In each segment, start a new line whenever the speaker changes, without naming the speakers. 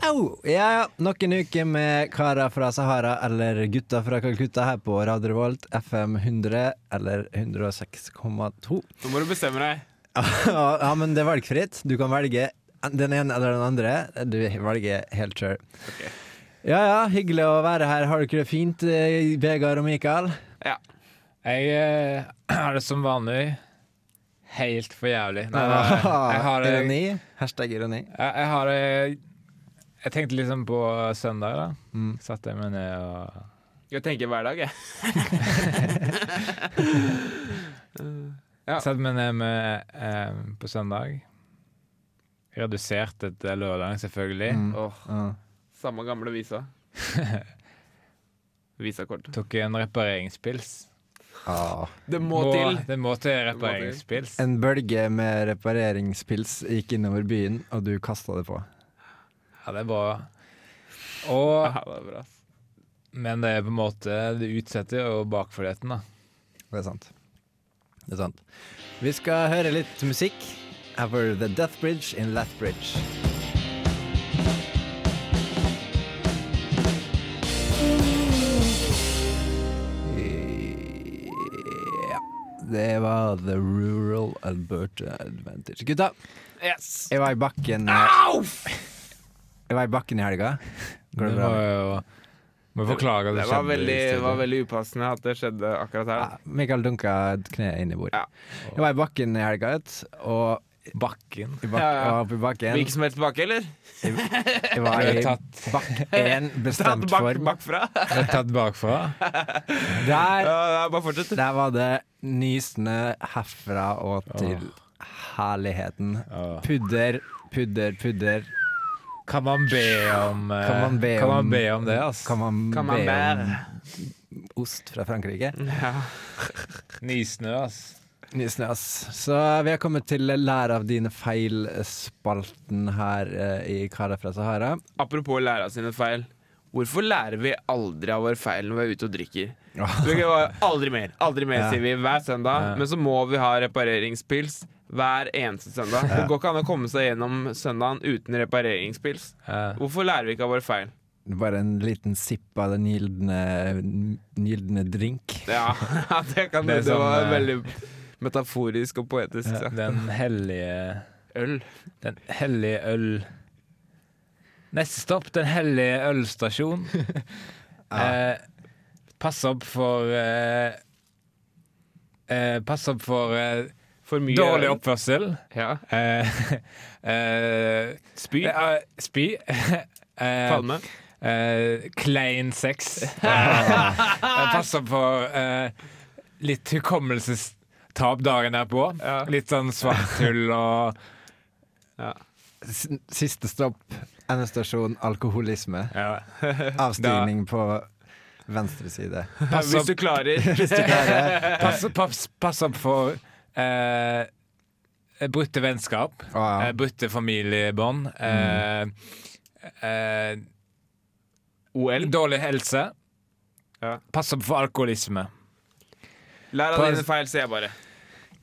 Ja, ja. Nok en uke med karer fra Sahara eller gutter fra Calcutta her på Radio Revolt, FM 100 eller 106,2.
Nå må du bestemme deg.
ja, men det er valgfritt. Du kan velge den ene eller den andre. Du velger helt sjøl.
Ok.
Ja ja, hyggelig å være her. Har dere det fint, eh, Vegard og Mikael?
Ja.
Jeg eh, har det som vanlig helt for jævlig. Nei, nei, nei.
Ah,
Jeg har
eh,
det jeg,
ironi. Hashtag ironi.
jeg har det Jeg tenkte liksom på søndag, da.
Mm.
Satte jeg meg ned og
Jeg tenker hver dag, jeg. Ja.
Satte meg ned med, eh, på søndag. Redusert etter lørdag, selvfølgelig.
Mm.
Åh,
Ja.
Samme gamle visa. Visakort.
Tok en repareringspils.
Ah.
Det må til!
Det må til
til.
repareringspils.
En bølge med repareringspils gikk innover byen, og du kasta det på.
Ja, det er bra. Og
Ja, det er bra. ass.
Men det er på en måte Det utsetter jo bakfordheten, da.
Det er sant. Det er sant. Vi skal høre litt musikk. Her får du The Death Bridge in Lethbridge. Ja. Det var The Rural Alberta Advantage. Gutta,
Yes!
jeg var i bakken
Au!
Jeg var i bakken i helga. Går det
Det
bra?
var jo Må jo forklage at
Det
det
var
skjedde.
veldig,
i stedet.
var veldig upassende at det skjedde akkurat her.
Ja, Mikael dunka et kne inn i bordet.
Ja.
Jeg var i bakken i helga, vet du, og
Bakken.
i bak,
Ja, ja.
jeg var oppe i bakken.
Hvilken som helst bakke, eller?
Jeg var
Ble
i
tatt,
bakk én
Tatt
bestemt
bak,
form.
bakfra?
ble tatt bakfra.
Der,
Ja, ja, bare fortsett.
der var det nysnø herfra og til herligheten.
Åh.
Pudder, pudder, pudder.
Kan man be om eh,
Kan man be
kan man
om-
be om det, altså?
Kan man,
Kan man Mm.
be om
bære?
ost fra Frankrike?
Ja.
Nysnø, altså.
Nysnø, ass. Så vi har kommet til Lær av dine feil-spalten her eh, i Kara fra Sahara.
Apropos å lære av sine feil. Hvorfor lærer vi aldri av våre feil når vi er ute og drikker?
Ja.
Vi kan- Aldri mer, aldri mer,
Ja.
sier vi hver søndag.
Ja.
Men så må vi ha repareringspils hver eneste søndag. Det går ikke an å komme seg gjennom søndagen uten repareringspils.
Eh,
Hvorfor lærer vi ikke av våre feil?
Bare en liten sipp av den gylne, gylne drink.
Ja, det kan
Det er
det, det var
sånn, eh,
veldig metaforisk og poetisk
ja,
sagt.
den hellige
Øl.
Den hellige øl... Neste stopp, Den hellige ølstasjon. eh, pass opp for eh, eh, Pass opp for eh,
For mye
dårlig
øl.
oppførsel.
Ja.
Eh, eh,
Spy.
eh, spy. Eh,
Palme.
eh, klein sex. Eh, pass opp for eh, litt hukommelsestap dagen derpå.
Ja.
Litt sånn svart hull og
S- Siste stopp, endestasjon, alkoholisme.
ja.
Avstigning på venstre side.
Pass
Hvis
opp.
du klarer.
Pass, pass, pass opp for eh, brutte vennskap,
Å, ja. Mm.
eh, brutte familiebånd, eh, eh,
OL.
dårlig helse.
Ja.
Pass opp for alkoholisme.
Lær av dine feil, sier jeg bare.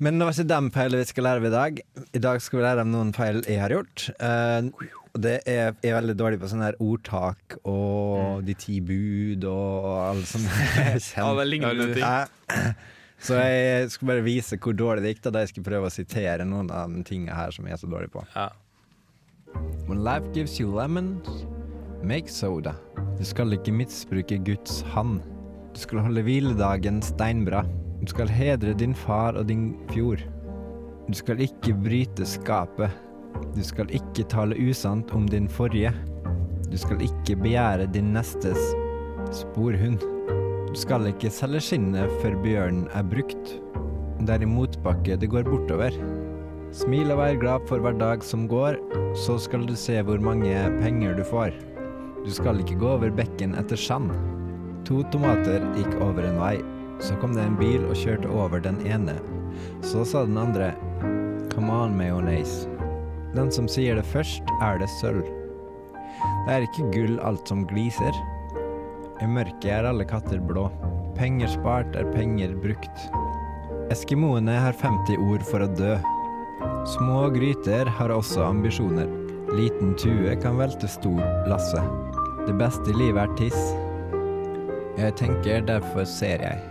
Men det var ikke de feilene vi skal lære av i dag. I dag skal vi lære om noen feil jeg har gjort. Eh, og det er, jeg er veldig dårlig på sånne her ordtak og de ti bud og alle sånne
Alle lignende ting.
Ja. Så jeg skal bare vise hvor dårlig det gikk da da jeg skal prøve å sitere noen av de tingene her som jeg er så dårlig på.
Ja.
When life gives you lemons, make soda. Du skal ikke misbruke Guds hand. Du skal holde hviledagen steinbra. Du skal hedre din far og din fjord. Du skal ikke bryte skapet. Du skal ikke tale usant om din forrige. Du skal ikke begjære din nestes sporhund. Du skal ikke selge skinnet før bjørnen er brukt. Det er i motbakke det går bortover. Smil og vær glad for hver dag som går, så skal du se hvor mange penger du får. Du skal ikke gå over bekken etter sand. To tomater gikk over en vei. Så kom det en bil og kjørte over den ene. Så sa den andre, come on mayonnaise. Den som sier det først, er det sølv. Det er ikke gull alt som gliser. I mørket er alle katter blå. Penger spart er penger brukt. Eskimoene har 50 ord for å dø. Små gryter har også ambisjoner. Liten tue kan velte stor lasse. Det beste i livet er tiss. Jeg tenker, derfor ser jeg.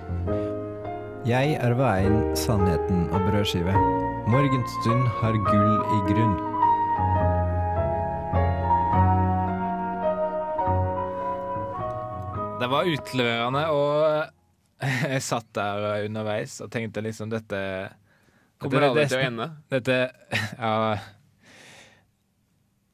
Jeg er veien, sannheten og brødskive. Morgenstund har gull i grunn.
Det var utleverende, og eh, jeg satt der underveis og tenkte liksom dette
Kommer
dette-
aldri til å ende.
Dette Ja.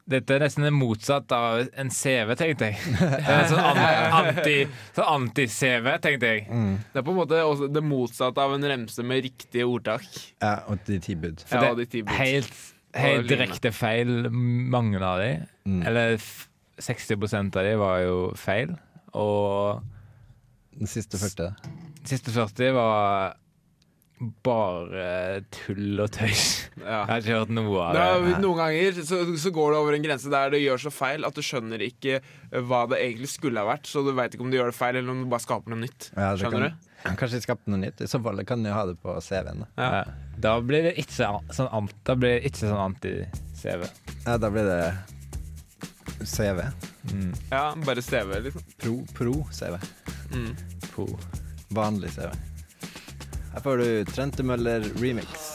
Dette er nesten det motsatt av en CV, tenkte jeg. Det er en Sånn an- anti- sånn anti-CV, tenkte jeg.
Det er på en måte også det motsatte av en remse med riktige ordtak.
Ja, og de ti bud.
For
Ja,
det
de ti bud.
er helt,
Og
helt
lignende.
direkte feil, mange av de. Eller f- 60 av de var jo feil. Og
Den siste første.
de siste 40 var bare tull og tøys.
Ja.
Jeg har ikke hørt noe av
Det er,
det.
noen ganger så, så går det over en grense der det gjør så feil at du skjønner ikke eh, hva det egentlig skulle ha vært, så du veit ikke om du gjør det feil, eller om du bare skaper noe nytt.
Ja, det
Skjønner du?
kan, Kanskje skapte noe nytt. I så fall kan jeg ha det på CV-en. da.
Ja. Da blir det ikke sånn, an- da blir det ikke sånn anti-CV.
Ja, da blir det CV.
Ja, bare steve, liksom.
Pro, pro CV.
Mm.
Po.
Vanlig CV. Her får du Trente Møller remix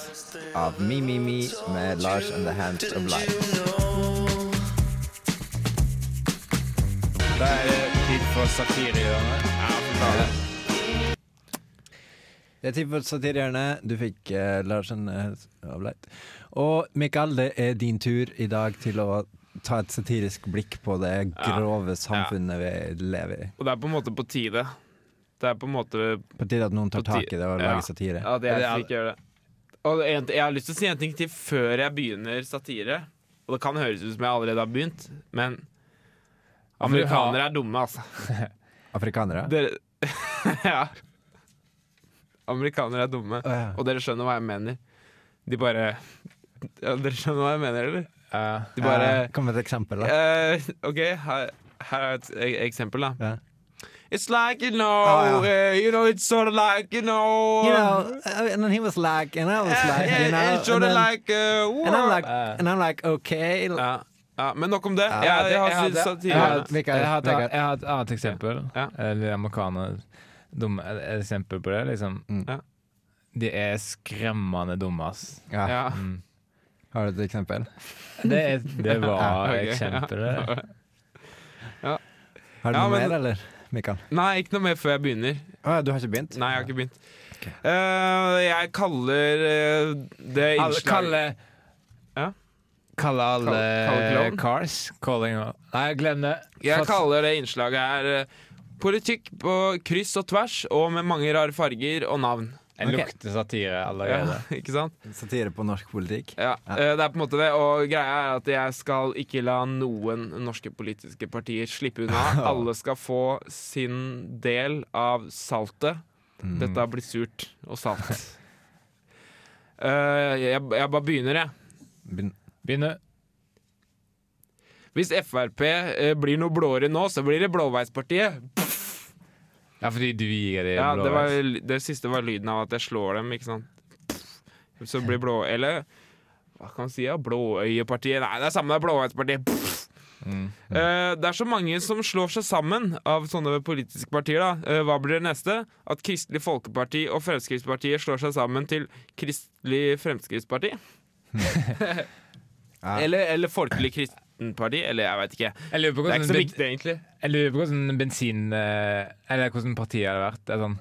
av Me Me Me med Lars and the Hands of Life.
Da er det tid for satirehjørnet.
Ja, fy faen.
Det er tid for satirehjørnet. Du fikk eh, Lars and the Hands of Life. Og Mikael, det er din tur i dag til å ta et satirisk blikk på det
Ja.
grove samfunnet vi lever i.
Og det er på en måte på tide. Det er på en måte
På tide at noen tar
På ti-
tak i det og
ja.
lager satire.
Ja, det
Det er-
er ikke gjør det. Og det er en, jeg har lyst til å si en ting til før jeg begynner satire. Og det kan høres ut som jeg allerede har begynt, men amerikanere er dumme, altså.
Afrikanere?
Dere Ja. Amerikanere er dumme,
Å, ja.
og dere skjønner hva jeg mener. De bare ja, Dere skjønner hva jeg mener, eller?
Ja.
De bare
Ja, Kom med et eksempel, da.
eh, OK, her, her er et e- eksempel, da.
Ja.
It's like, you know,
Ah, ja.
eh, you know, it's sort of like, you know,
You know, uh, and then he was like, and I was
eh,
like,
eh,
you know,
it's sort
and, then,
of like eh,
and I'm like,
Uh.
and I'm like, okay. l-
ja, ja, Men nok om det.
Ja,
Ja,
det-
jeg
jeg
har
hadde-
sin
jeg
satire.
har-
Mikael,
jeg har et-
Mikael.
jeg har et annet eksempel.
Ja.
Eller amerikanere dumme et eksempel på det. liksom
Mm.
Ja.
De er skremmende dumme, ass.
Ja.
Ja.
Mm.
Har du et eksempel?
Det, er, det var
Ok, ja.
eksempelet.
Har du
Ja,
noe
men-
mer, eller, Mikael?
Nei, ikke noe mer før jeg begynner.
Å, du har ikke begynt?
Nei, jeg har ikke begynt. Eh, jeg kaller eh, det
Alle
innslaget
kalle
Ja?
Kalle alle
Kalle- kalle klovn?
cars. Calling all. Nei, glem det.
Jeg
Fast-
kaller det innslaget her eh, politikk på kryss og tvers og med mange rare farger og navn.
Jeg
Ok.
lukter satire allerede.
Ja, ikke sant?
Satire på norsk politikk?
Ja, eh, det er på en måte det. Og greia er at jeg skal ikke la noen norske politiske partier slippe unna. Alle skal få sin del av saltet. Dette har blitt surt og salt. Eh, jeg, jeg bare begynner, jeg.
Begynn-
Begynn du.
Hvis Frp eh, blir noe blåere nå, så blir det Blåveispartiet.
Ja, fordi du gir det
Ja, det, var,
blåveis.
det siste var lyden av at jeg slår dem, ikke sant. Så blir blå... Eller hva kan man si? Ja, Blåøyepartiet. Nei, det er samme, det er Blåveispartiet. Pff.
Mm.
Eh, det er så mange som slår seg sammen av sånne politiske partier, da. Eh, hva blir det neste? At Kristelig Folkeparti og Fremskrittspartiet slår seg sammen til Kristelig Fremskrittsparti?
Ja.
eller, eller Folkelig Kristenparti? Eller jeg veit ikke.
Jeg lurer
Det
på
er
hvordan,
ikke så
ben,
viktig, egentlig.
jeg lurer på hvordan bensin eh, Eller hvordan partiet hadde vært. Det er sånn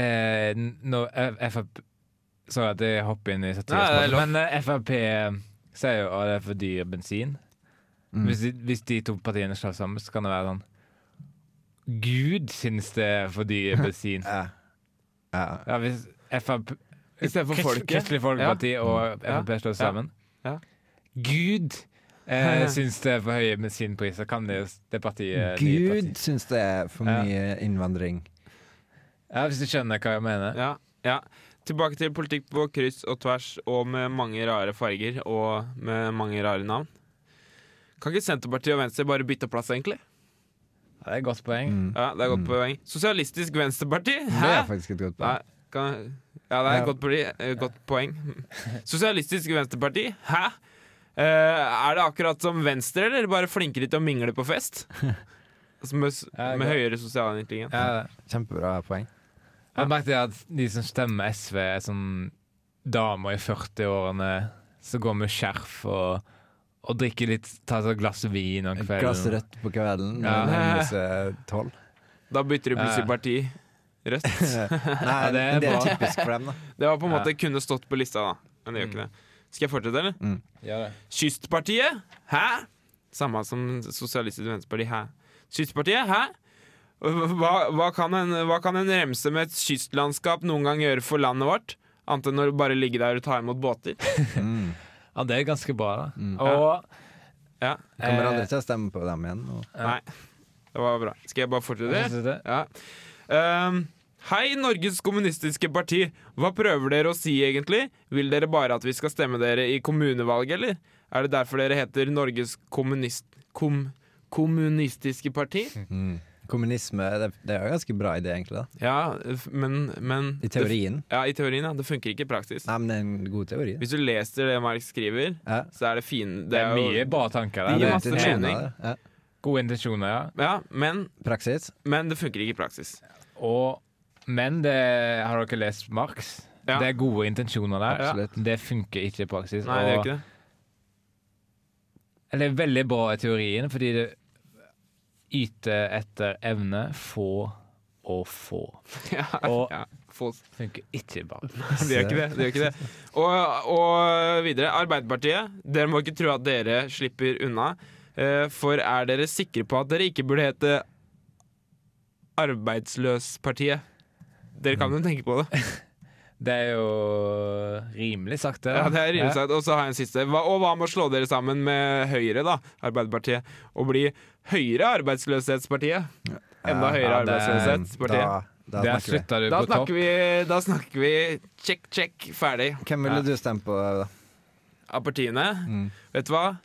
eh, n- Når F- Frp Sorry at jeg hopper inn i
Nei, det er
satire, men eh, Frp eh, sier jo at det er for dyr bensin. Hvis, de, hvis de to partiene slår sammen, så kan det være sånn Gud syns det er for dyr bensin.
Ja. Ja.
Ja, hvis FRP
I stedet for
Krist-
folket.
Kristelig Folkeparti og Frp slår sammen.
Ja.
Gud eh, syns det er for høye bensinpriser. Kan det, det partiet nye
Gud
partiet.
syns det er for
Ja.
mye innvandring.
Ja, Hvis du skjønner hva jeg mener.
Ja, ja. Tilbake til politikk på kryss og tvers og med mange rare farger og med mange rare navn. Kan ikke Senterpartiet og Venstre bare bytte plass, egentlig?
Ja, det er et godt poeng.
Mm.
Ja, Det er godt poeng. Sosialistisk Venstreparti?
Det er
Hæ?
faktisk et godt
Nei,
poeng.
kan, ja, det er
Ja.
et godt, parti, eh, godt poeng. Sosialistisk Venstreparti? Hæ? Eh, er det akkurat som Venstre, eller bare flinkere til å mingle på fest? Altså med, s-
Ja,
med
det-
høyere sosial intelligens.
Ja,
Kjempebra poeng.
jeg har merket at de som stemmer SV, er sånn damer i 40-årene som går med skjerf og, og drikker litt Tar seg et glass vin om
Et
kvelden.
glass rødt på kvelden når
Ja.
det nærmer seg tolv.
Da bytter de plutselig
Ja.
parti. Røst.
Nei,
Ja, det
det
er
er, det er
bra.
typisk for dem, da.
Det var på en
Ja.
måte kunne stått på lista, da. Men det gjør ikke det. Skal jeg fortsette, eller?
Ja, det.
Kystpartiet? Hæ? Samme som Sosialistisk Venstreparti. Hæ? Kystpartiet? Hæ? Hva, hva, kan en, hva kan en remse med et kystlandskap noen gang gjøre for landet vårt? Annet enn å bare ligge der og ta imot båter?
Mm.
Ja, det er ganske bra, da.
Mm.
Og
Ja,
Kommer
Eh,
aldri til å stemme på dem igjen. Og...
Ja.
Nei, det var bra. Skal jeg bare fortsette?
Synes du det?
Ja. Ehm, Hei, Norges kommunistiske parti. Hva prøver dere å si egentlig? Vil dere bare at vi skal stemme dere i kommunevalget, eller? Er det derfor dere heter Norges kommunist... Kom, kommunistiske parti?
Hm.
Mm. Kommunisme det, det er jo en ganske bra idé, egentlig. da
Ja, f- men, men
I teorien.
Det, ja, i teorien, ja. Det funker ikke i praksis.
Nei, men det er en god teori. da.
Hvis du leser det Marx skriver,
Ja.
så er det fin...
Det er
jo-
mye bra tanker
Det
Gode
gir
der.
masse
Det er
intensjoner
mening.
der. Ja.
Gode intensjoner, ja.
Ja, men,
Praksis.
men det funker ikke i praksis.
Og, men det har dere lest Marx?
Ja.
Det er gode intensjoner der.
Absolutt.
Det funker ikke i praksis.
Nei, det gjør
og-
ikke det.
eller det er veldig bra i teorien, fordi det yter etter evne, få og få.
Ja,
Og-
ja. Folk-
Funker ikke i Marx.
Det gjør ikke det. det, gjør ikke det. Og, og videre. Arbeiderpartiet, dere må ikke tro at dere slipper unna. eh, For er dere sikre på at dere ikke burde hete Arbeidsløspartiet? Dere kan jo tenke på det.
Det er jo rimelig sagt, det. da.
Ja, det er rimelig
Ja.
sagt. Og så har jeg en siste. Hva, og hva med å slå dere sammen med Høyre, da? Arbeiderpartiet. Og bli Høyre Arbeidsløshetspartiet. Enda
Ja,
høyere
ja, det-
Arbeidsløshetspartiet.
Da, da
Der
snakker vi.
slutta du
Da
på topp.
snakker vi, da snakker vi check, check, ferdig
Hvem ville
Ja.
du stemme på? da?
av partiene.
Mm.
Vet du hva?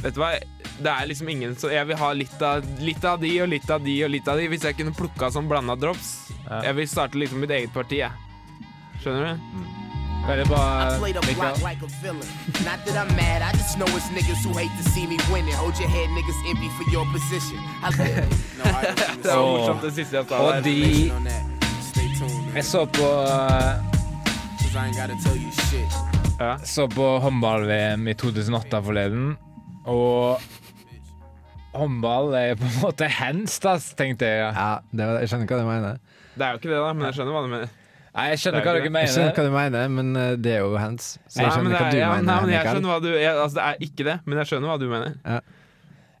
Vet du hva? Det er liksom ingen som Jeg vil ha litt av, litt av de og litt av de og litt av de. Hvis jeg kunne plukka som blanda drops.
Ja.
Jeg vil starte liksom mitt eget parti, jeg. Skjønner du?
Veldig bra,
I play the
Mikael.
block like a villain. Not that I'm mad, I just know it's niggas who hate to see me winning. Hold your head, niggas envy for your position. I live. no, I don't
Det var
Åh.
morsomt, det siste jeg sa
Og
der.
de
on that. Stay tuned, man,
Jeg så på, eh,
cause I ain't gotta tell you shit.
Ja.
så på håndball-VM i 2008 forleden, og håndball er på en måte hands, da, tenkte jeg.
Ja, det var, jeg skjønner hva du mener.
Det er jo ikke det, da, men jeg skjønner hva du mener.
Nei, jeg skjønner
Det er
hva
ikke
dere
det.
Jeg skjønner
mener.
hva du mener, men eh, det er jo hands. Så
Nei,
jeg
men
skjønner
det
hva
er,
du
ja, nei,
mener,
men jeg
Mikael.
skjønner hva du jeg, Altså, det er ikke det, men jeg skjønner hva du
Men
mener.
det er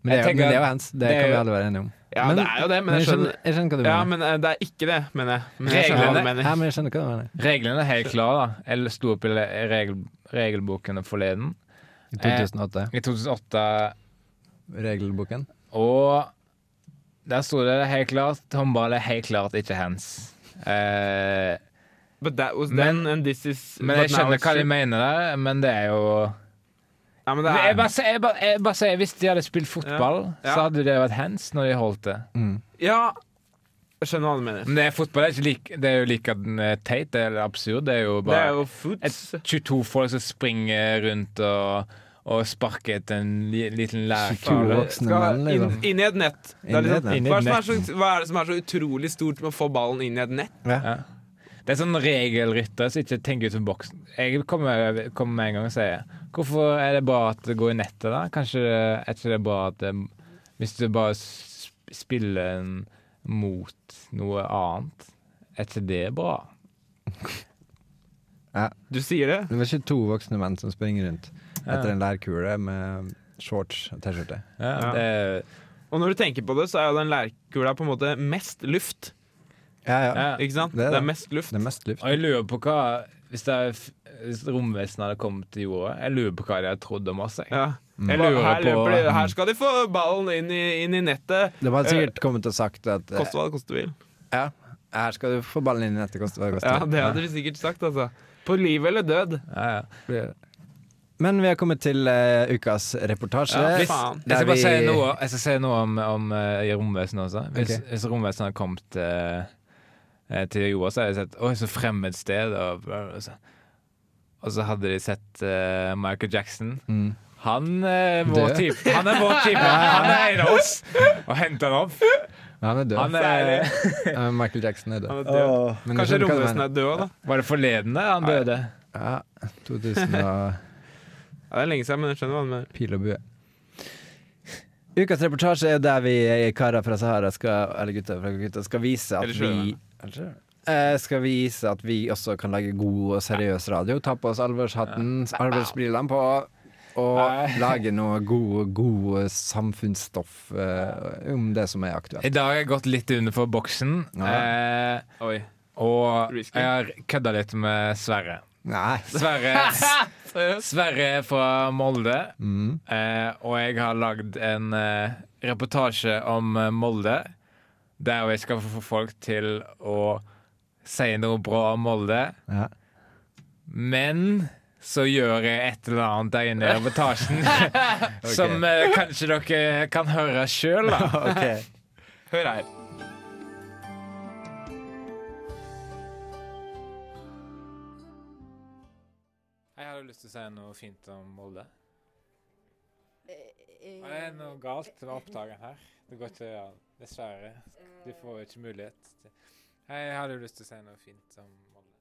Jeg
jo- men det er
tenker-
jo hands. Det
det er
kan vi
jo-
alle være enige om.
Ja, det er jo det, men jeg skjønner
jeg skjønner hva du
Ja,
mener.
men eh, det er ikke det, mener jeg. Men jeg skjønner hva du
Reglene-
mener.
Ja, men jeg skjønner hva du mener.
Reglene er helt klare, da. Jeg sto opp i le- regel, regelbokene forleden,
I
Eh.
2008,
i 2008,
regelboken.
og der sto det helt klart håndball er helt klart ikke hands. Eh,
But that was
Men-
then, and this is
men
but
jeg
now
skjønner
it's
hva de
true.
mener der, men det er jo
Ja, men det
Jeg
er
bare sier- jeg bare- jeg bare sier, hvis de hadde spilt fotball,
Ja. Ja.
så hadde det vært hands når de holdt det.
Ja, jeg skjønner hva du mener.
Men det er fotball det er, ikke like, det er jo like eh, teit eller absurd. Det er jo
Det er
bare
jo foots.
et 22 folk som springer rundt og, og sparker etter en li, liten
Kule 22
lærkar.
voksne menn, liksom.
inn, inn i et nett. Det er
Inn i et
liksom-
nett.
hva, er det som er så, hva er det som er så utrolig stort med å få ballen inn i et nett?
Ja. Det er sånn regelrytter som ikke tenker utenfor boksen. Jeg kommer, kommer med en gang og sier Hvorfor er det bra at det går i nettet, da? Kanskje det, er ikke det bra at det, Hvis du bare sp- spiller en mot noe annet, er ikke det bra?
Du sier det?
Det var 22 voksne menn som springer rundt etter en lærkule med shorts og T-skjorte.
Ja,
Ja.
Det er,
Og når du tenker på det, så er jo den lærkula på en måte mest luft.
Ja, ja.
ja.
Ikke sant?
Det
Det
er
er,
det.
mest luft.
Det er mest luft.
Og jeg lurer på hva Hvis, det er, f- hvis romvesenet hadde kommet til jorda, jeg lurer på hva de hadde trodd om oss. Jeg.
Ja.
Mm.
Jeg
Hva-
lurer
her,
på-
løper de, her skal de få ballen inn i, inn i nettet.
De hadde sikkert kommet og sagt at eh,
Koste hva det koste vil.
ja, her skal du få ballen inn i nettet, koste hva det
Ja,
koster.
det hadde de sikkert sagt, altså. På liv eller død.
Ja, ja.
Men vi har kommet til eh, ukas reportasje.
Ja,
Hvis,
faen.
jeg skal
vi-
bare si noe, jeg skal si noe om, om eh, romvesenet også. Hvis,
Ok.
hvis romvesenet hadde kommet eh, eh, til jorda, så hadde de sett Oi, så fremmed Altså, sted. Og, og, så, og så hadde de sett eh, Michael Jackson.
Mm.
Og Han er vår
Død.
type. Han er vår type. Han er en av oss. Og henter han opp.
Han er død.
Han er,
Eh, Michael Jackson er død.
Han er død.
Men
Kanskje
det skjønner hva jeg
romvesen er død òg, da.
var det forleden da han døde?
mener. Ja, 2000 og
Ja, det er lenge siden, men jeg skjønner hva han mener.
pil og bue. Ukas reportasje er jo der vi eh, karer fra Sahara skal, eller gutter fra gutta skal vise at
Eller
vi
sjømenn.
Eh, skal vise at vi også kan lage god og seriøs radio. Ta på oss alvorshatten, arbeidsbrillene på, og
Nei.
lage noe god, god samfunnsstoff eh, om det som er aktuelt.
I dag har jeg gått litt utenfor boksen. Eh,
Oi.
og jeg
Risky.
har kødda litt med Sverre.
Nei.
Sverre,
Seriøst?
Sverre er fra Molde.
Mm.
Eh, og jeg har lagd en eh, reportasje om eh, Molde, der jeg skal få folk til å si noe bra om Molde.
Ja.
Men så gjør jeg et eller annet der inne i reportasjen som eh, kanskje dere kan høre sjøl, da.
Ok.
Hør her.
Jeg hadde lyst til å si noe fint om Molde. Det er
Eh,
noe galt med oppdageren her. Det går ikke an. Dessverre. Du får ikke mulighet. til- Jeg hadde lyst til å si noe fint om Molde.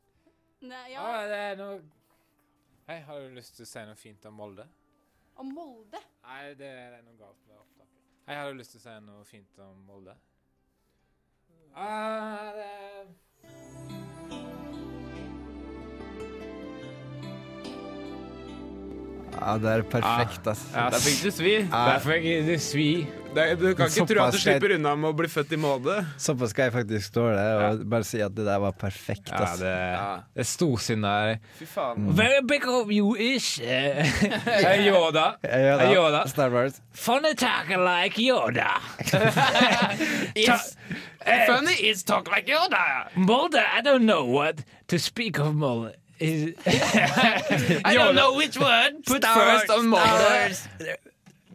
Nei,
Ja,
ja.
det er noe Jeg har du lyst til å si noe fint om Molde.
Og Molde.
Nei, det er noe galt med opptaket. Jeg hadde lyst til å si noe fint om Molde. Ah, det er...
Ja, det er perfekt, ass.
Ja,
Der fikk du svi.
Derfor jeg det svi.
Det- Du kan ikke tro at du
Såpass greit.
slipper unna med å bli født i Molde.
Såpass skal jeg faktisk tåle og bare si at det der var perfekt,
Ja,
ass.
det, det er storsinna.
Fy faen.
Very big of you ish. Eh, Yoda.
Jeg
Jeg
gjør
gjør
det.
det.
Star Wars.
Funny talk like Yoda.
Funny is talk like Yoda.
Molde, I don't know what to speak of Molde. Is-
I don't know which word. Put first on Molde.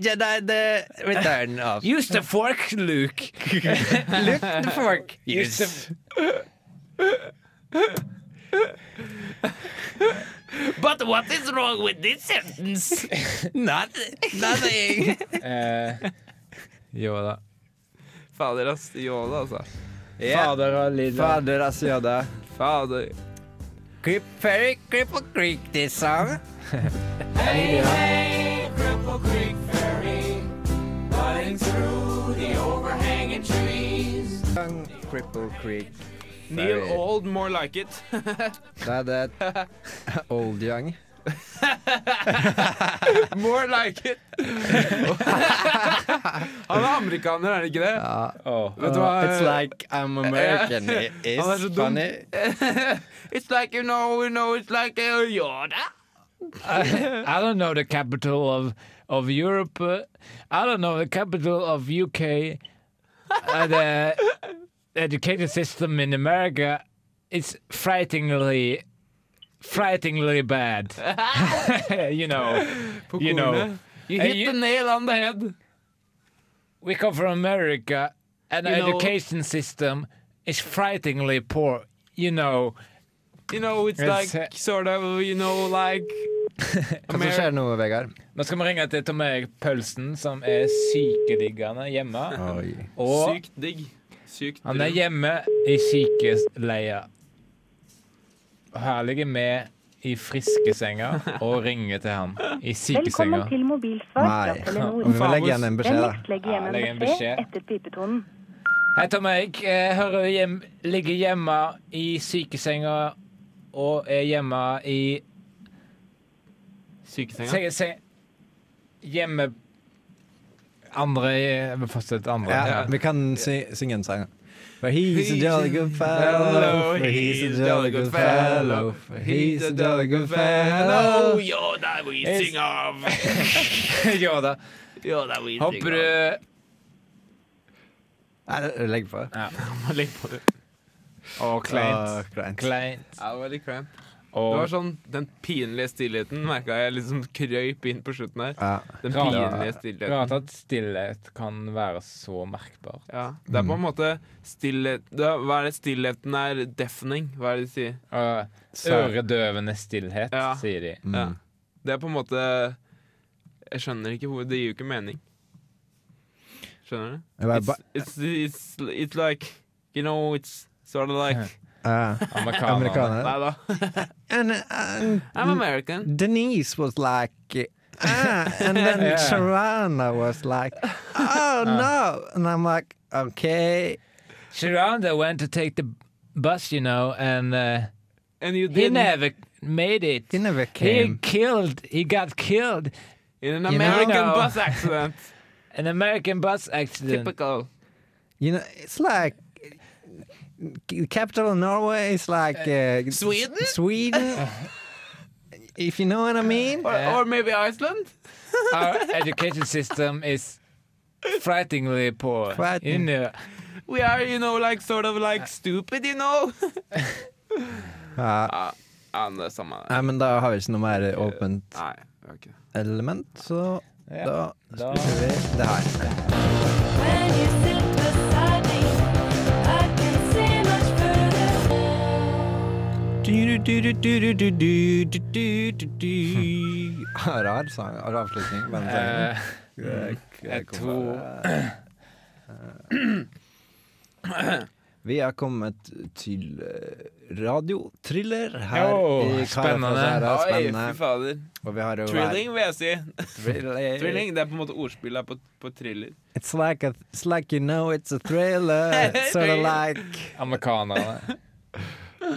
Jedi the Return of
Use the fork, Luke.
the Fork.
Use the...
But what is wrong with this sentence?
Nothing.
Uh, Yoda.
Fader, ass. Yoda, altså.
Fader og Lilla.
Fader, ass, Yoda.
Fader.
Creep Ferry, Cripple Creek, this song. Song, Cripple Creek.
Neil
Ferry.
Old, more like it.
Nei, det er Old Young.
More like it. Han er amerikaner, er det ikke det?
Ja.
Vet du hva?
It's like I'm American. It
Han er
is
så dum.
funny.
It's like, you know, you know, it's like uh, Yoda.
I don't know the capital of of Europe. uh, I don't know the capital of UK. Uh, the education system in America is frighteningly frighteningly bad. you know, you know.
kornet. You hit the nail on the head.
we come from America, and the
You know-
education system is frighteningly poor. You know,
You know, it's like
Yes.
sort of, you know, like
Hva som skjer nå, Vegard?
Nå skal vi ringe til Tom Erik Pølsen, som er sykeliggende hjemme.
Oi.
Og
Sykt digg. Sykt
han er
drøm.
hjemme i sykeleia. Og her ligger vi i friskesenga og ringer til han i sykesenga.
Velkommen til mobilsvar fra
Nei. Og vi
Telenor.
må legge igjen en beskjed, da.
Vennligst legg igjen
Ja, legg en
en
beskjed.
beskjed etter pipetonen.
Hei, Tom Erik. Jeg hører du hjem, ligger hjemme i sykesenga og er hjemme i
Sykesenga.
se, se, Hjemme Andre Jeg vil fortsette andre.
Ja, vi kan sy synge en sang. For he's a jolly good fellow,
fellow,
for he's a jolly good fellow, for he's a jolly good fellow. Oh,
Yoda we
Yes.
sing of.
ja da.
Yoda we sing
Håper du
of.
Nei, Ah, det- er Legg på.
Legg på det.
Å,
Åh,
kleint.
kleint.
Kleint.
Ja, det var litt kleint. Det var
Og
sånn, Den pinlige stillheten merka jeg liksom krøyp inn på slutten her.
Ja.
Den
Rart.
pinlige stillheten.
rart at stillhet kan være så merkbar.
Ja, Det er på en måte stillhet det, Hva er det stillheten er? Deafening, hva er det de sier?
Uh,
Så-
øredøvende stillhet,
Ja.
mm.
sier de.
Ja. Det er på en måte Jeg skjønner ikke hvor Det gir jo ikke mening. Skjønner du?
Jeg bare
It's, it's, it's, it's like You know, it's sort of like
ba- eh,
Amerikaner.
Amerikaner.
Nei da.
And, and
I'm American.
Denise was like, ah, and then
Yeah.
Sharana was like, oh no, and I'm like, okay,
Sharonda went to take the bus, you know, and uh,
And you
he
did
never made it.
he never
He
came.
killed. He got killed.
in an
You know?
American
No.
bus accident.
An American bus accident.
Typical.
You know, it's like. The capital of Norway is like uh,
Sweden?
Sweden, if you know what I mean.
Or, or maybe Iceland?
Our education system is frighteningly poor. eh, You
Frightening.
know,
We are, you know, like sort of like stupid, you know?
Ja,
Ja, men det er samme det.
nei, men da har vi ikke noe mer åpent
Nei, vi har ikke det.
element, så
Ja,
da
da-
spiller vi det her.
When you sit beside me, I can see much further.
Rar sang, rar avslutning. Men
eh,
Jeg- jeg
jeg
kommer bare- Eh, Vi er kommet til eh, radiothriller her
Jo,
i
spennende.
Karafjordæra.
Oi, fy
Spennende.
fader.
eh, Og vi har jo
Trilling, vil jeg si.
Thriller.
Trilling, det er på en måte ordspill her på, på thriller.
It's like, a, it's like you know it's a thriller. Sort of like uh,
Amerikanerne.
Ja,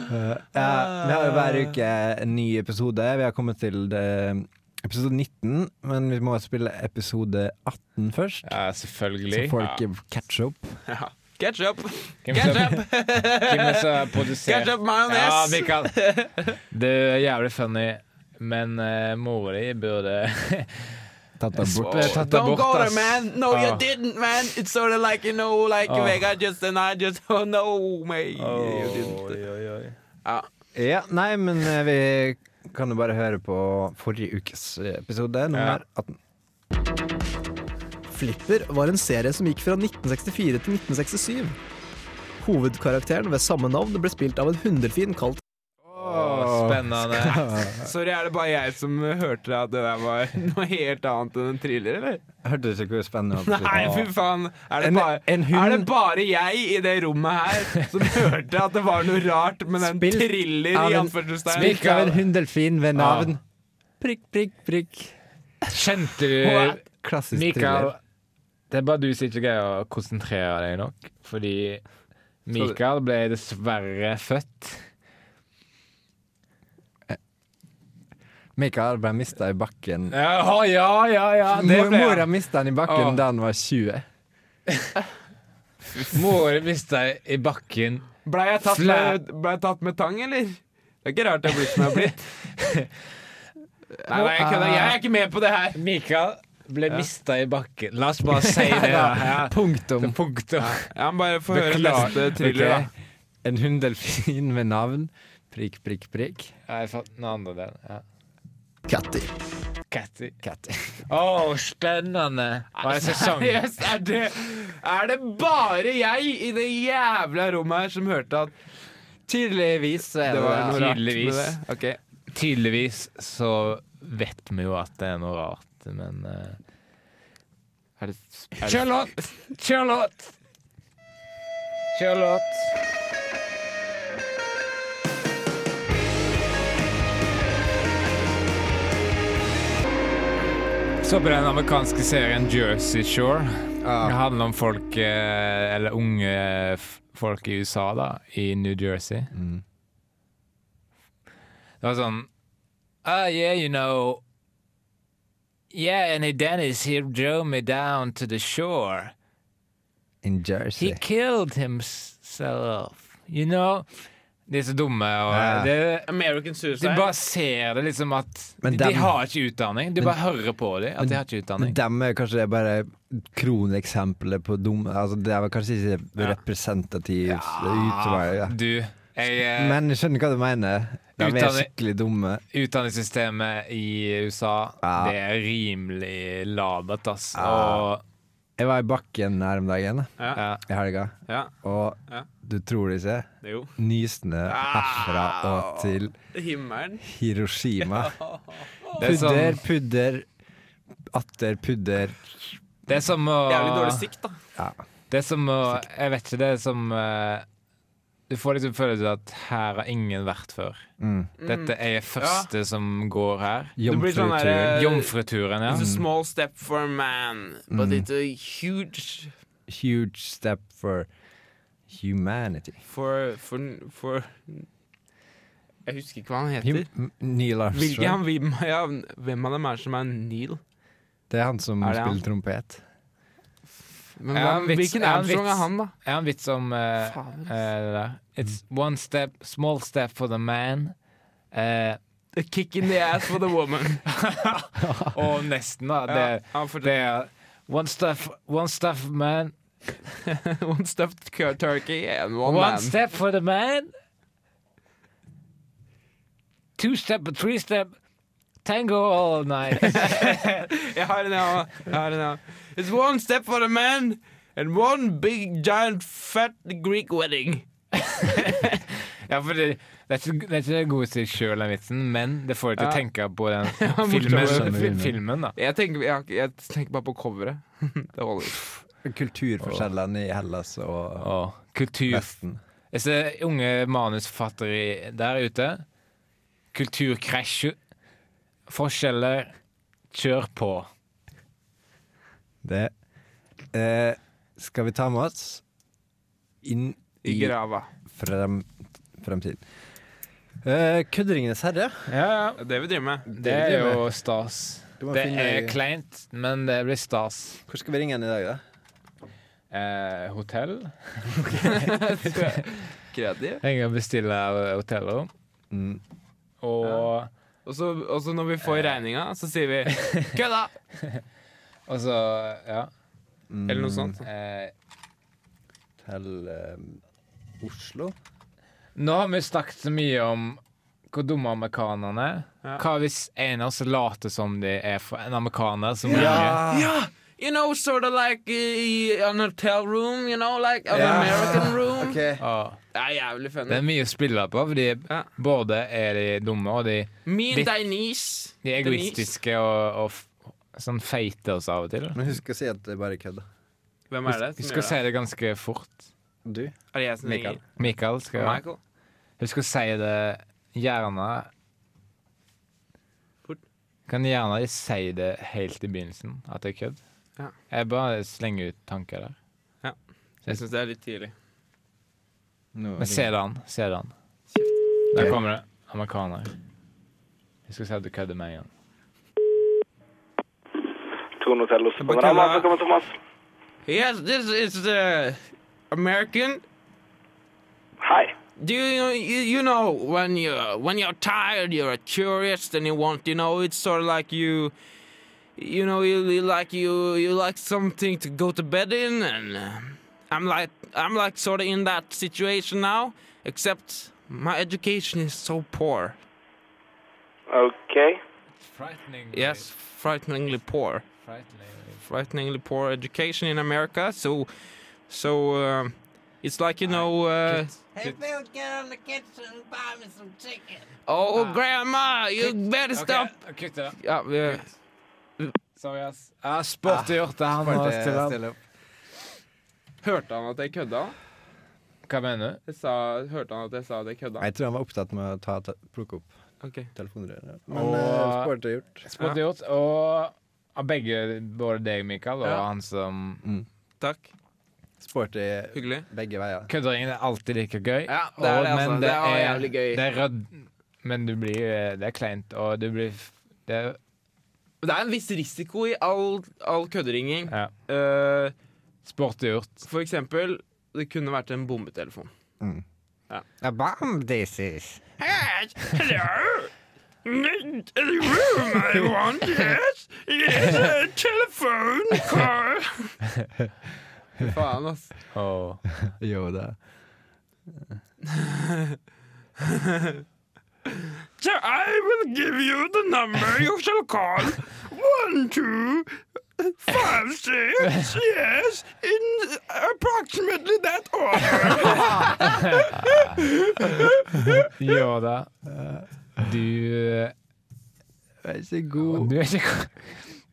vi har jo hver uke en ny episode. Vi har kommet til det, episode 19, men vi må spille episode 18 først.
Ja,
Så
selvfølgelig.
folk catch up.
Ja. Ketchup!
Hvem som-
Ketchup!
Hvem som har produsert
Ketchup
Ja,
majones!
Mikael. Det er jævlig funny, men uh, mora di burde
Tatt det bort.
Sp- eh, tatt det
Don't
bort,
go there,
ass.
man! No, you
Ah.
didn't, man! It's sort of like, you know, like
Ah.
Vegard just and I just oh, no, me! You didn't. Ja.
Ja, nei, men eh, vi kan jo bare høre på forrige ukes eh, episode, nummer 18.
Flipper var en serie som gikk fra 1964 til 1967. Hovedkarakteren ved samme navn ble spilt av en hundefin kalt
Å, Spennende.
Sorry, er det bare jeg som uh, hørte at det der var noe helt annet enn en thriller, eller?
Hørte du ikke hvor spennende det var?
Nei, fy faen! Er det,
En-
bare,
en hund-
er det bare jeg i det rommet her som hørte at det var noe rart med den
Spilt
thriller
av
i
en-
anførselstegn?
spilt-
Ikke av en hundelfin ved navn. Prikk, prikk, prikk.
Kjente du
Klassisk
Mikael,
thriller.
det er bare du som ikke greier å konsentrere deg nok. Fordi Mikael ble dessverre født.
Mikael ble mista i bakken.
Ja, ja, ja. ja det
Mor-
ble
Mora
han.
mista han i bakken
Å.
da han var 20.
Mora mista i bakken.
Ble jeg tatt
Flæ-
med, ble jeg tatt med tang, eller? Det er ikke rart jeg har blitt som jeg har blitt. Nei, nei, jeg kødder. Jeg er ikke med på det her.
Mikael ble mista i bakken. La oss bare si det. da.
Punktum.
Punktum.
Ja, men bare få høre
Beklager.
neste thriller,
Ok. En hundelfin ved navn. Prikk, prikk, prikk.
Jeg fant den andre delen. Ja.
Catty.
Catty.
Katt.
Å, spennende. Og en
da.
sesong.
Seriøst, er det, er det bare jeg i det jævla rommet her som hørte at
Tydeligvis så er
det
det
var noe
det.
rart med det?
Tydeligvis.
Ok.
Tydeligvis så vet vi jo at det er noe rart, men eh,
Er det,
Kjør låt! Kjør låt! Kjør låt. Så på den amerikanske serien Jersey Shore. Det handler om folk, eh, eller unge f- folk i USA, da, i New Jersey.
Mm.
Det var sånn Oh, yeah, you know. Yeah, and he Dennis, he drove me down to the shore.
In
He
Jersey.
killed himself. You know? De er så dumme. Og
Ja.
det,
American
du
Suicide.
bare ser det liksom at
Men
de
dem-
har ikke utdanning. Du bare hører på dem at de har ikke utdanning.
Men dem er kanskje bare kroneksempelet på dumme altså, Det er vel kanskje ikke representativt utvalg. Ja.
Ah, Du, jeg, eh,
Men jeg skjønner hva du mener. De er
Utdanning-
skikkelig dumme.
utdanningssystemet i USA,
Ja.
det er rimelig labert, ass.
Ja.
Og,
Jeg var i bakken her om dagen
Ja.
ja.
i helga,
ja.
og
Ja. Ah.
du tror det ikke.
Det er jo
Nysnø herfra og til
himmelen.
Hiroshima.
Det er sånn
Pudder, pudder. Atter pudder
Det er som å
Jævlig dårlig sikt, da.
Det er som å Jeg vet ikke, det er som eh, Du får liksom følelsen at her har ingen vært før.
mm.
Dette er første som går her.
Det blir sånn
Jomfrutur.
der, eh, Mm.
Jomfruturen, ja.
It's a small step for a man, but it's a huge
Huge step for humanity.
for, for, for Jeg husker ikke hva han heter.
Hum Neil
Hvilke han
Armstrong.
vil meg av? Hvem av dem er det som er Neil?
Det er han som
Er det han?
spiller trompet.
Men
Er
hva,
han vits-
hvilken
er han
Armstrong
vits?
er han, da?
Jeg har en vits om eh,
Faen.
eh, det der. It's one step, small step for the man. Eh,
A kick in the ass for the woman.
og nesten, da. Det,
ja, han
det
forteller
er one step, one step man.
One stuffed cur- turkey and one,
One
man.
step for the man. Two step and three step. Tango all night.
Jeg har en, jeg har- jeg har en, jeg har. It's one step for the man and one big giant fat Greek wedding.
ja, for det, det, er ikke, det er ikke god til sjøl, den vitsen, men det får deg til å
Ja.
tenke på den
morsomt.
filmen.
Skjønner
fil-
du.
filmen da.
Jeg tenker, jeg, har ikke- jeg tenker bare på coveret. det holder.
Kulturforskjellene i Hellas og
Og kultur
Vesten.
Jeg ser unge manusforfattere der ute. Kulturkrasj. Forskjeller. Kjør på.
Det eh, skal vi ta med oss inn
I
i
grava.
frem, fremtiden. Eh, Kudringenes herre.
Ja,
Det er det vi driver med.
Det er jo stas.
Du må
Det
finne-
er kleint, men det blir stas.
Hvor skal vi ringe henne i dag, da?
Eh, hotell?
Kreativ.
Jeg kan bestille hotellrom.
Mm.
Og
Og så og så når vi får regninga, så sier vi kødda!
Og så, altså, ja
Eller noe sånt.
eh,
Til eh, Oslo.
Nå har vi snakket så mye om hvor dumme amerikanerne er.
Ja.
Hva hvis en av oss later som de er fra en amerikaner som ringer?
Yeah, you know, sort of like uh, an hotel room, you know, like an
Yeah.
American room.
Og
Det er jævlig funny.
det er mye å spille på, fordi
Ja.
både er de dumme, og de,
Me and
Litt-
Denise.
de er egoistiske og, og f sånn feite oss av og til.
Men husk å si at det er bare kødd.
Hvem er det? som
Husk å
gjør
si det ganske fort.
Du?
det? Er det jeg som
Mikael.
ringer?
Mikael, skal
Michael.
husk å si det gjerne
Fort.
Kan gjerne si det helt i begynnelsen, at det er kødd.
Ja.
Jeg bare slenger ut tanker der.
Jeg syns det er litt tidlig.
Men ser du han? Ser du han? Der kommer det. Amerikaner. Jeg skal si at du kødder med en gang.
Torn Hotel hos
bare
Panorama.
kødda.
Velkommen, Thomas.
Yes, this is uh, American.
Hei.
Do you, you you know when you when you're tired, you're curious, and you want you know it's sort of like you, you know you, you like you you like something to go to bed in, and uh, I'm like I'm like sort of in that situation now, except my education is so poor.
OK.
Yes, frighteningly poor. frighteningly poor education in America. So, so um, it's like you know. Uh, hey, Bill, get on the kitchen and buy me some chicken. Oh, grandma, you better stop.
Kutt det.
Ja, uh, vi-
Sorry, ass. Ja, sport har gjort det. Han
Bare
har
til-
stilt opp.
Ah, stille opp.
Hørte han at jeg kødda?
Hva mener du?
Jeg sa, hørte han at jeg sa at jeg kødda?
Jeg tror han var opptatt med å ta, ta, plukke opp
Ok.
telefonrøret.
Og-
Men eh, sport er gjort.
Sport har gjort, og av begge, både deg, Mikael, og
Ja.
han som
Takk.
Sport er
Hyggelig.
begge veier.
Kødderingen er alltid like gøy.
Ja, det er det, altså.
men
Det er jævlig gøy.
Det er rød, men du blir, eh, det er kleint, og du blir det, er-
Det er en viss risiko i all, all kødderinging.
ja.
Eh,
Sport er gjort.
for eksempel, det kunne vært en bombetelefon. Yes, hello. Need a room I want, yes. Yes, a telephone call. Faen, ass.
Og
Jo, det
So I will give you the number you shall call. One, two, five, six, yes, in approximately that order.
gjør det. Du eh,
er ikke god.
Du er ikke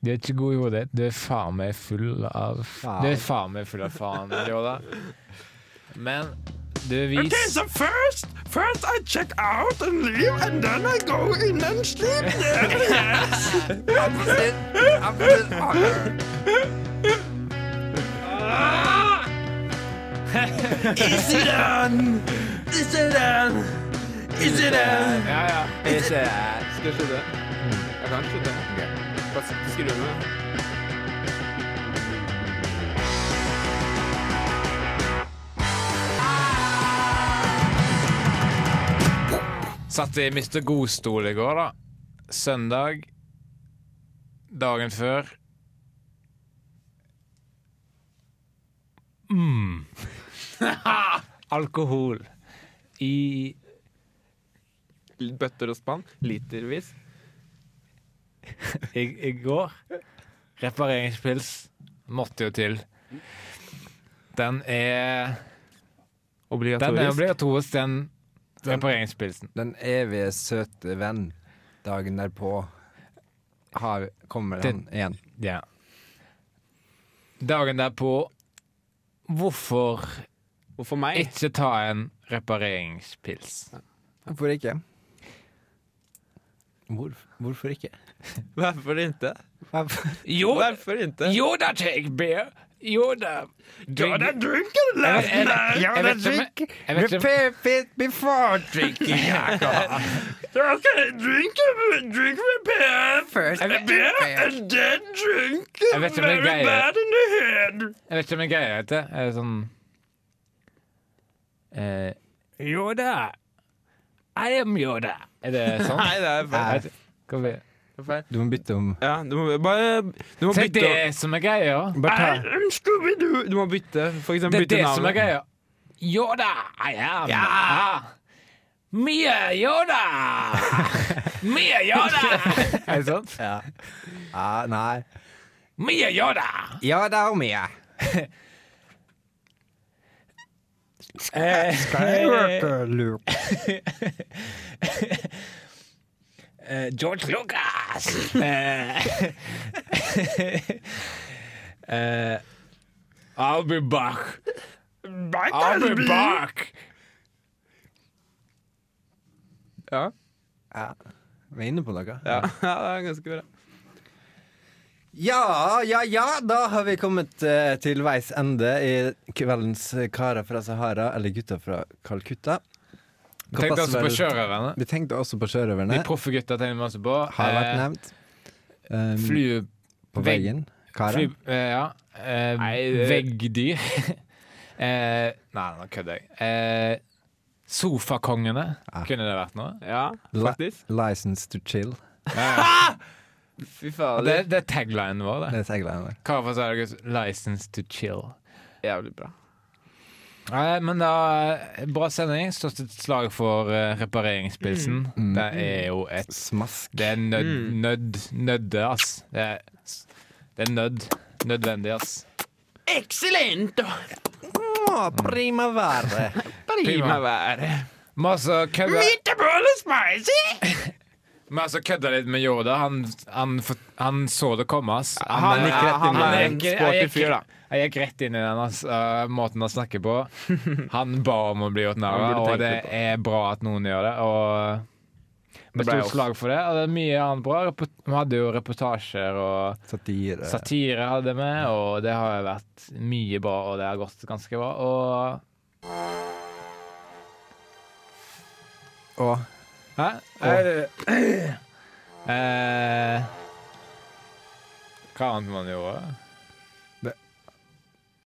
Du er ikke god i hodet. Du er faen meg full av
Faen.
Du er faen meg full av faen, Yoda. Men du vis
first, first I check out and leave, and then I go in and sleep. Ja, ja. Skal jeg slutte? Jeg kan slutte. Bare skru ned.
Satt i Mr. Godstol i går, da. Søndag. Dagen før. Mm. Mm. Alkohol i
Bøtter og spann, litervis.
i, i går. Repareringspils måtte jo til. Den er Den er
Obligatorisk.
obligatorisk, den repareringspilsen.
Den evige søte venn dagen derpå har, kommer den igjen.
Ja. Dagen derpå Hvorfor
Og for meg
ikke ta en repareringspils?
Hvorfor ikke? hvorfor ikke?
Hvorfor ikke?
Jo,
Hvorfor ikke?
jo da, take beer. Jo da. Drink. Jeg vet- jeg vet- jeg vet ikke om- jeg vet ikke om-
it before drinking.
Jeg vet- Jeg vet ikke om jeg greier Jeg vet ikke om jeg greier dette. Er det sånn eh, Yoda. I am Yoda. Er det sånn?
Nei, det er feil.
Jeg vet ikke. Hva blir-
Du må bytte om.
Ja, du må bare Du må
Det er
bytte
det som er greia.
Bare ta.
I'm Scooby-Doo! Du må bytte. For
Det
eksempel
er
bytte
det
navn.
som er greia. Yoda, I am. Ja. Mia Yoda. Mia Yoda. Er det sant?
Ja. Ah, nei.
Mia Yoda.
Ja da, Omia.
Eh,
Luke.
Eh, George Lucas! Eh, eh, I'll be back. I'll be back!
Ja.
Vi er inne på noe.
Ja. ja, det er ganske bra.
Ja, ja, ja, da har vi kommet eh, til veis ende i kveldens eh, Karer fra Sahara, eller Gutter fra Calcutta. Hva
Tenkte
passer
altså på
vel-
sjørøverne.
Vi tenkte også på
De
sjørøverne.
proffe gutta tenkte vi også på.
Har vært
Eh,
nevnt. Um,
Fly...
på
vegg-
veggen.
fly
Karer.
eh, ja. Eh, veggdyr. eh, nei, nå kødder jeg. Eh, sofakongene kunne det vært noe.
Ja,
La-
faktisk.
License to chill.
Fy
Det,
fader.
det er taglinen vår. det.
Det er taglinen vår.
Hva for seg, August? License to chill.
Jævlig bra.
Nei, men da Bra sending. Størst et slag for eh, repareringspilsen.
Mm.
Det er jo et
Smask.
Det er nød, nød, nødde, ass. Det er, det er nød. Nødvendig, ass.
Å, primavere.
Gi
Prima.
meg været.
Vi har altså kødda Vi har altså kødda litt med Yoda. Han, han, for- han så det komme, ass.
Han gikk rett inn i
han
det. En
gikk- han
sporty
gikk-
fyr, da.
Jeg gikk rett inn i den ass, eh, måten han snakker på. Han ba om å bli gjort narr
Han
av,
burde
og
tenkt
det
litt på
er bra at noen gjør det. Og
Det
det
ble
ble
oss.
slag for det. Og det er mye annet bra. Repo- Vi hadde jo reportasjer og
Satire.
satire hadde vi, og det har jo vært mye bra, og det har gått ganske bra. Og
Og
Hæ? Er det Eh, Hva annet man gjorde?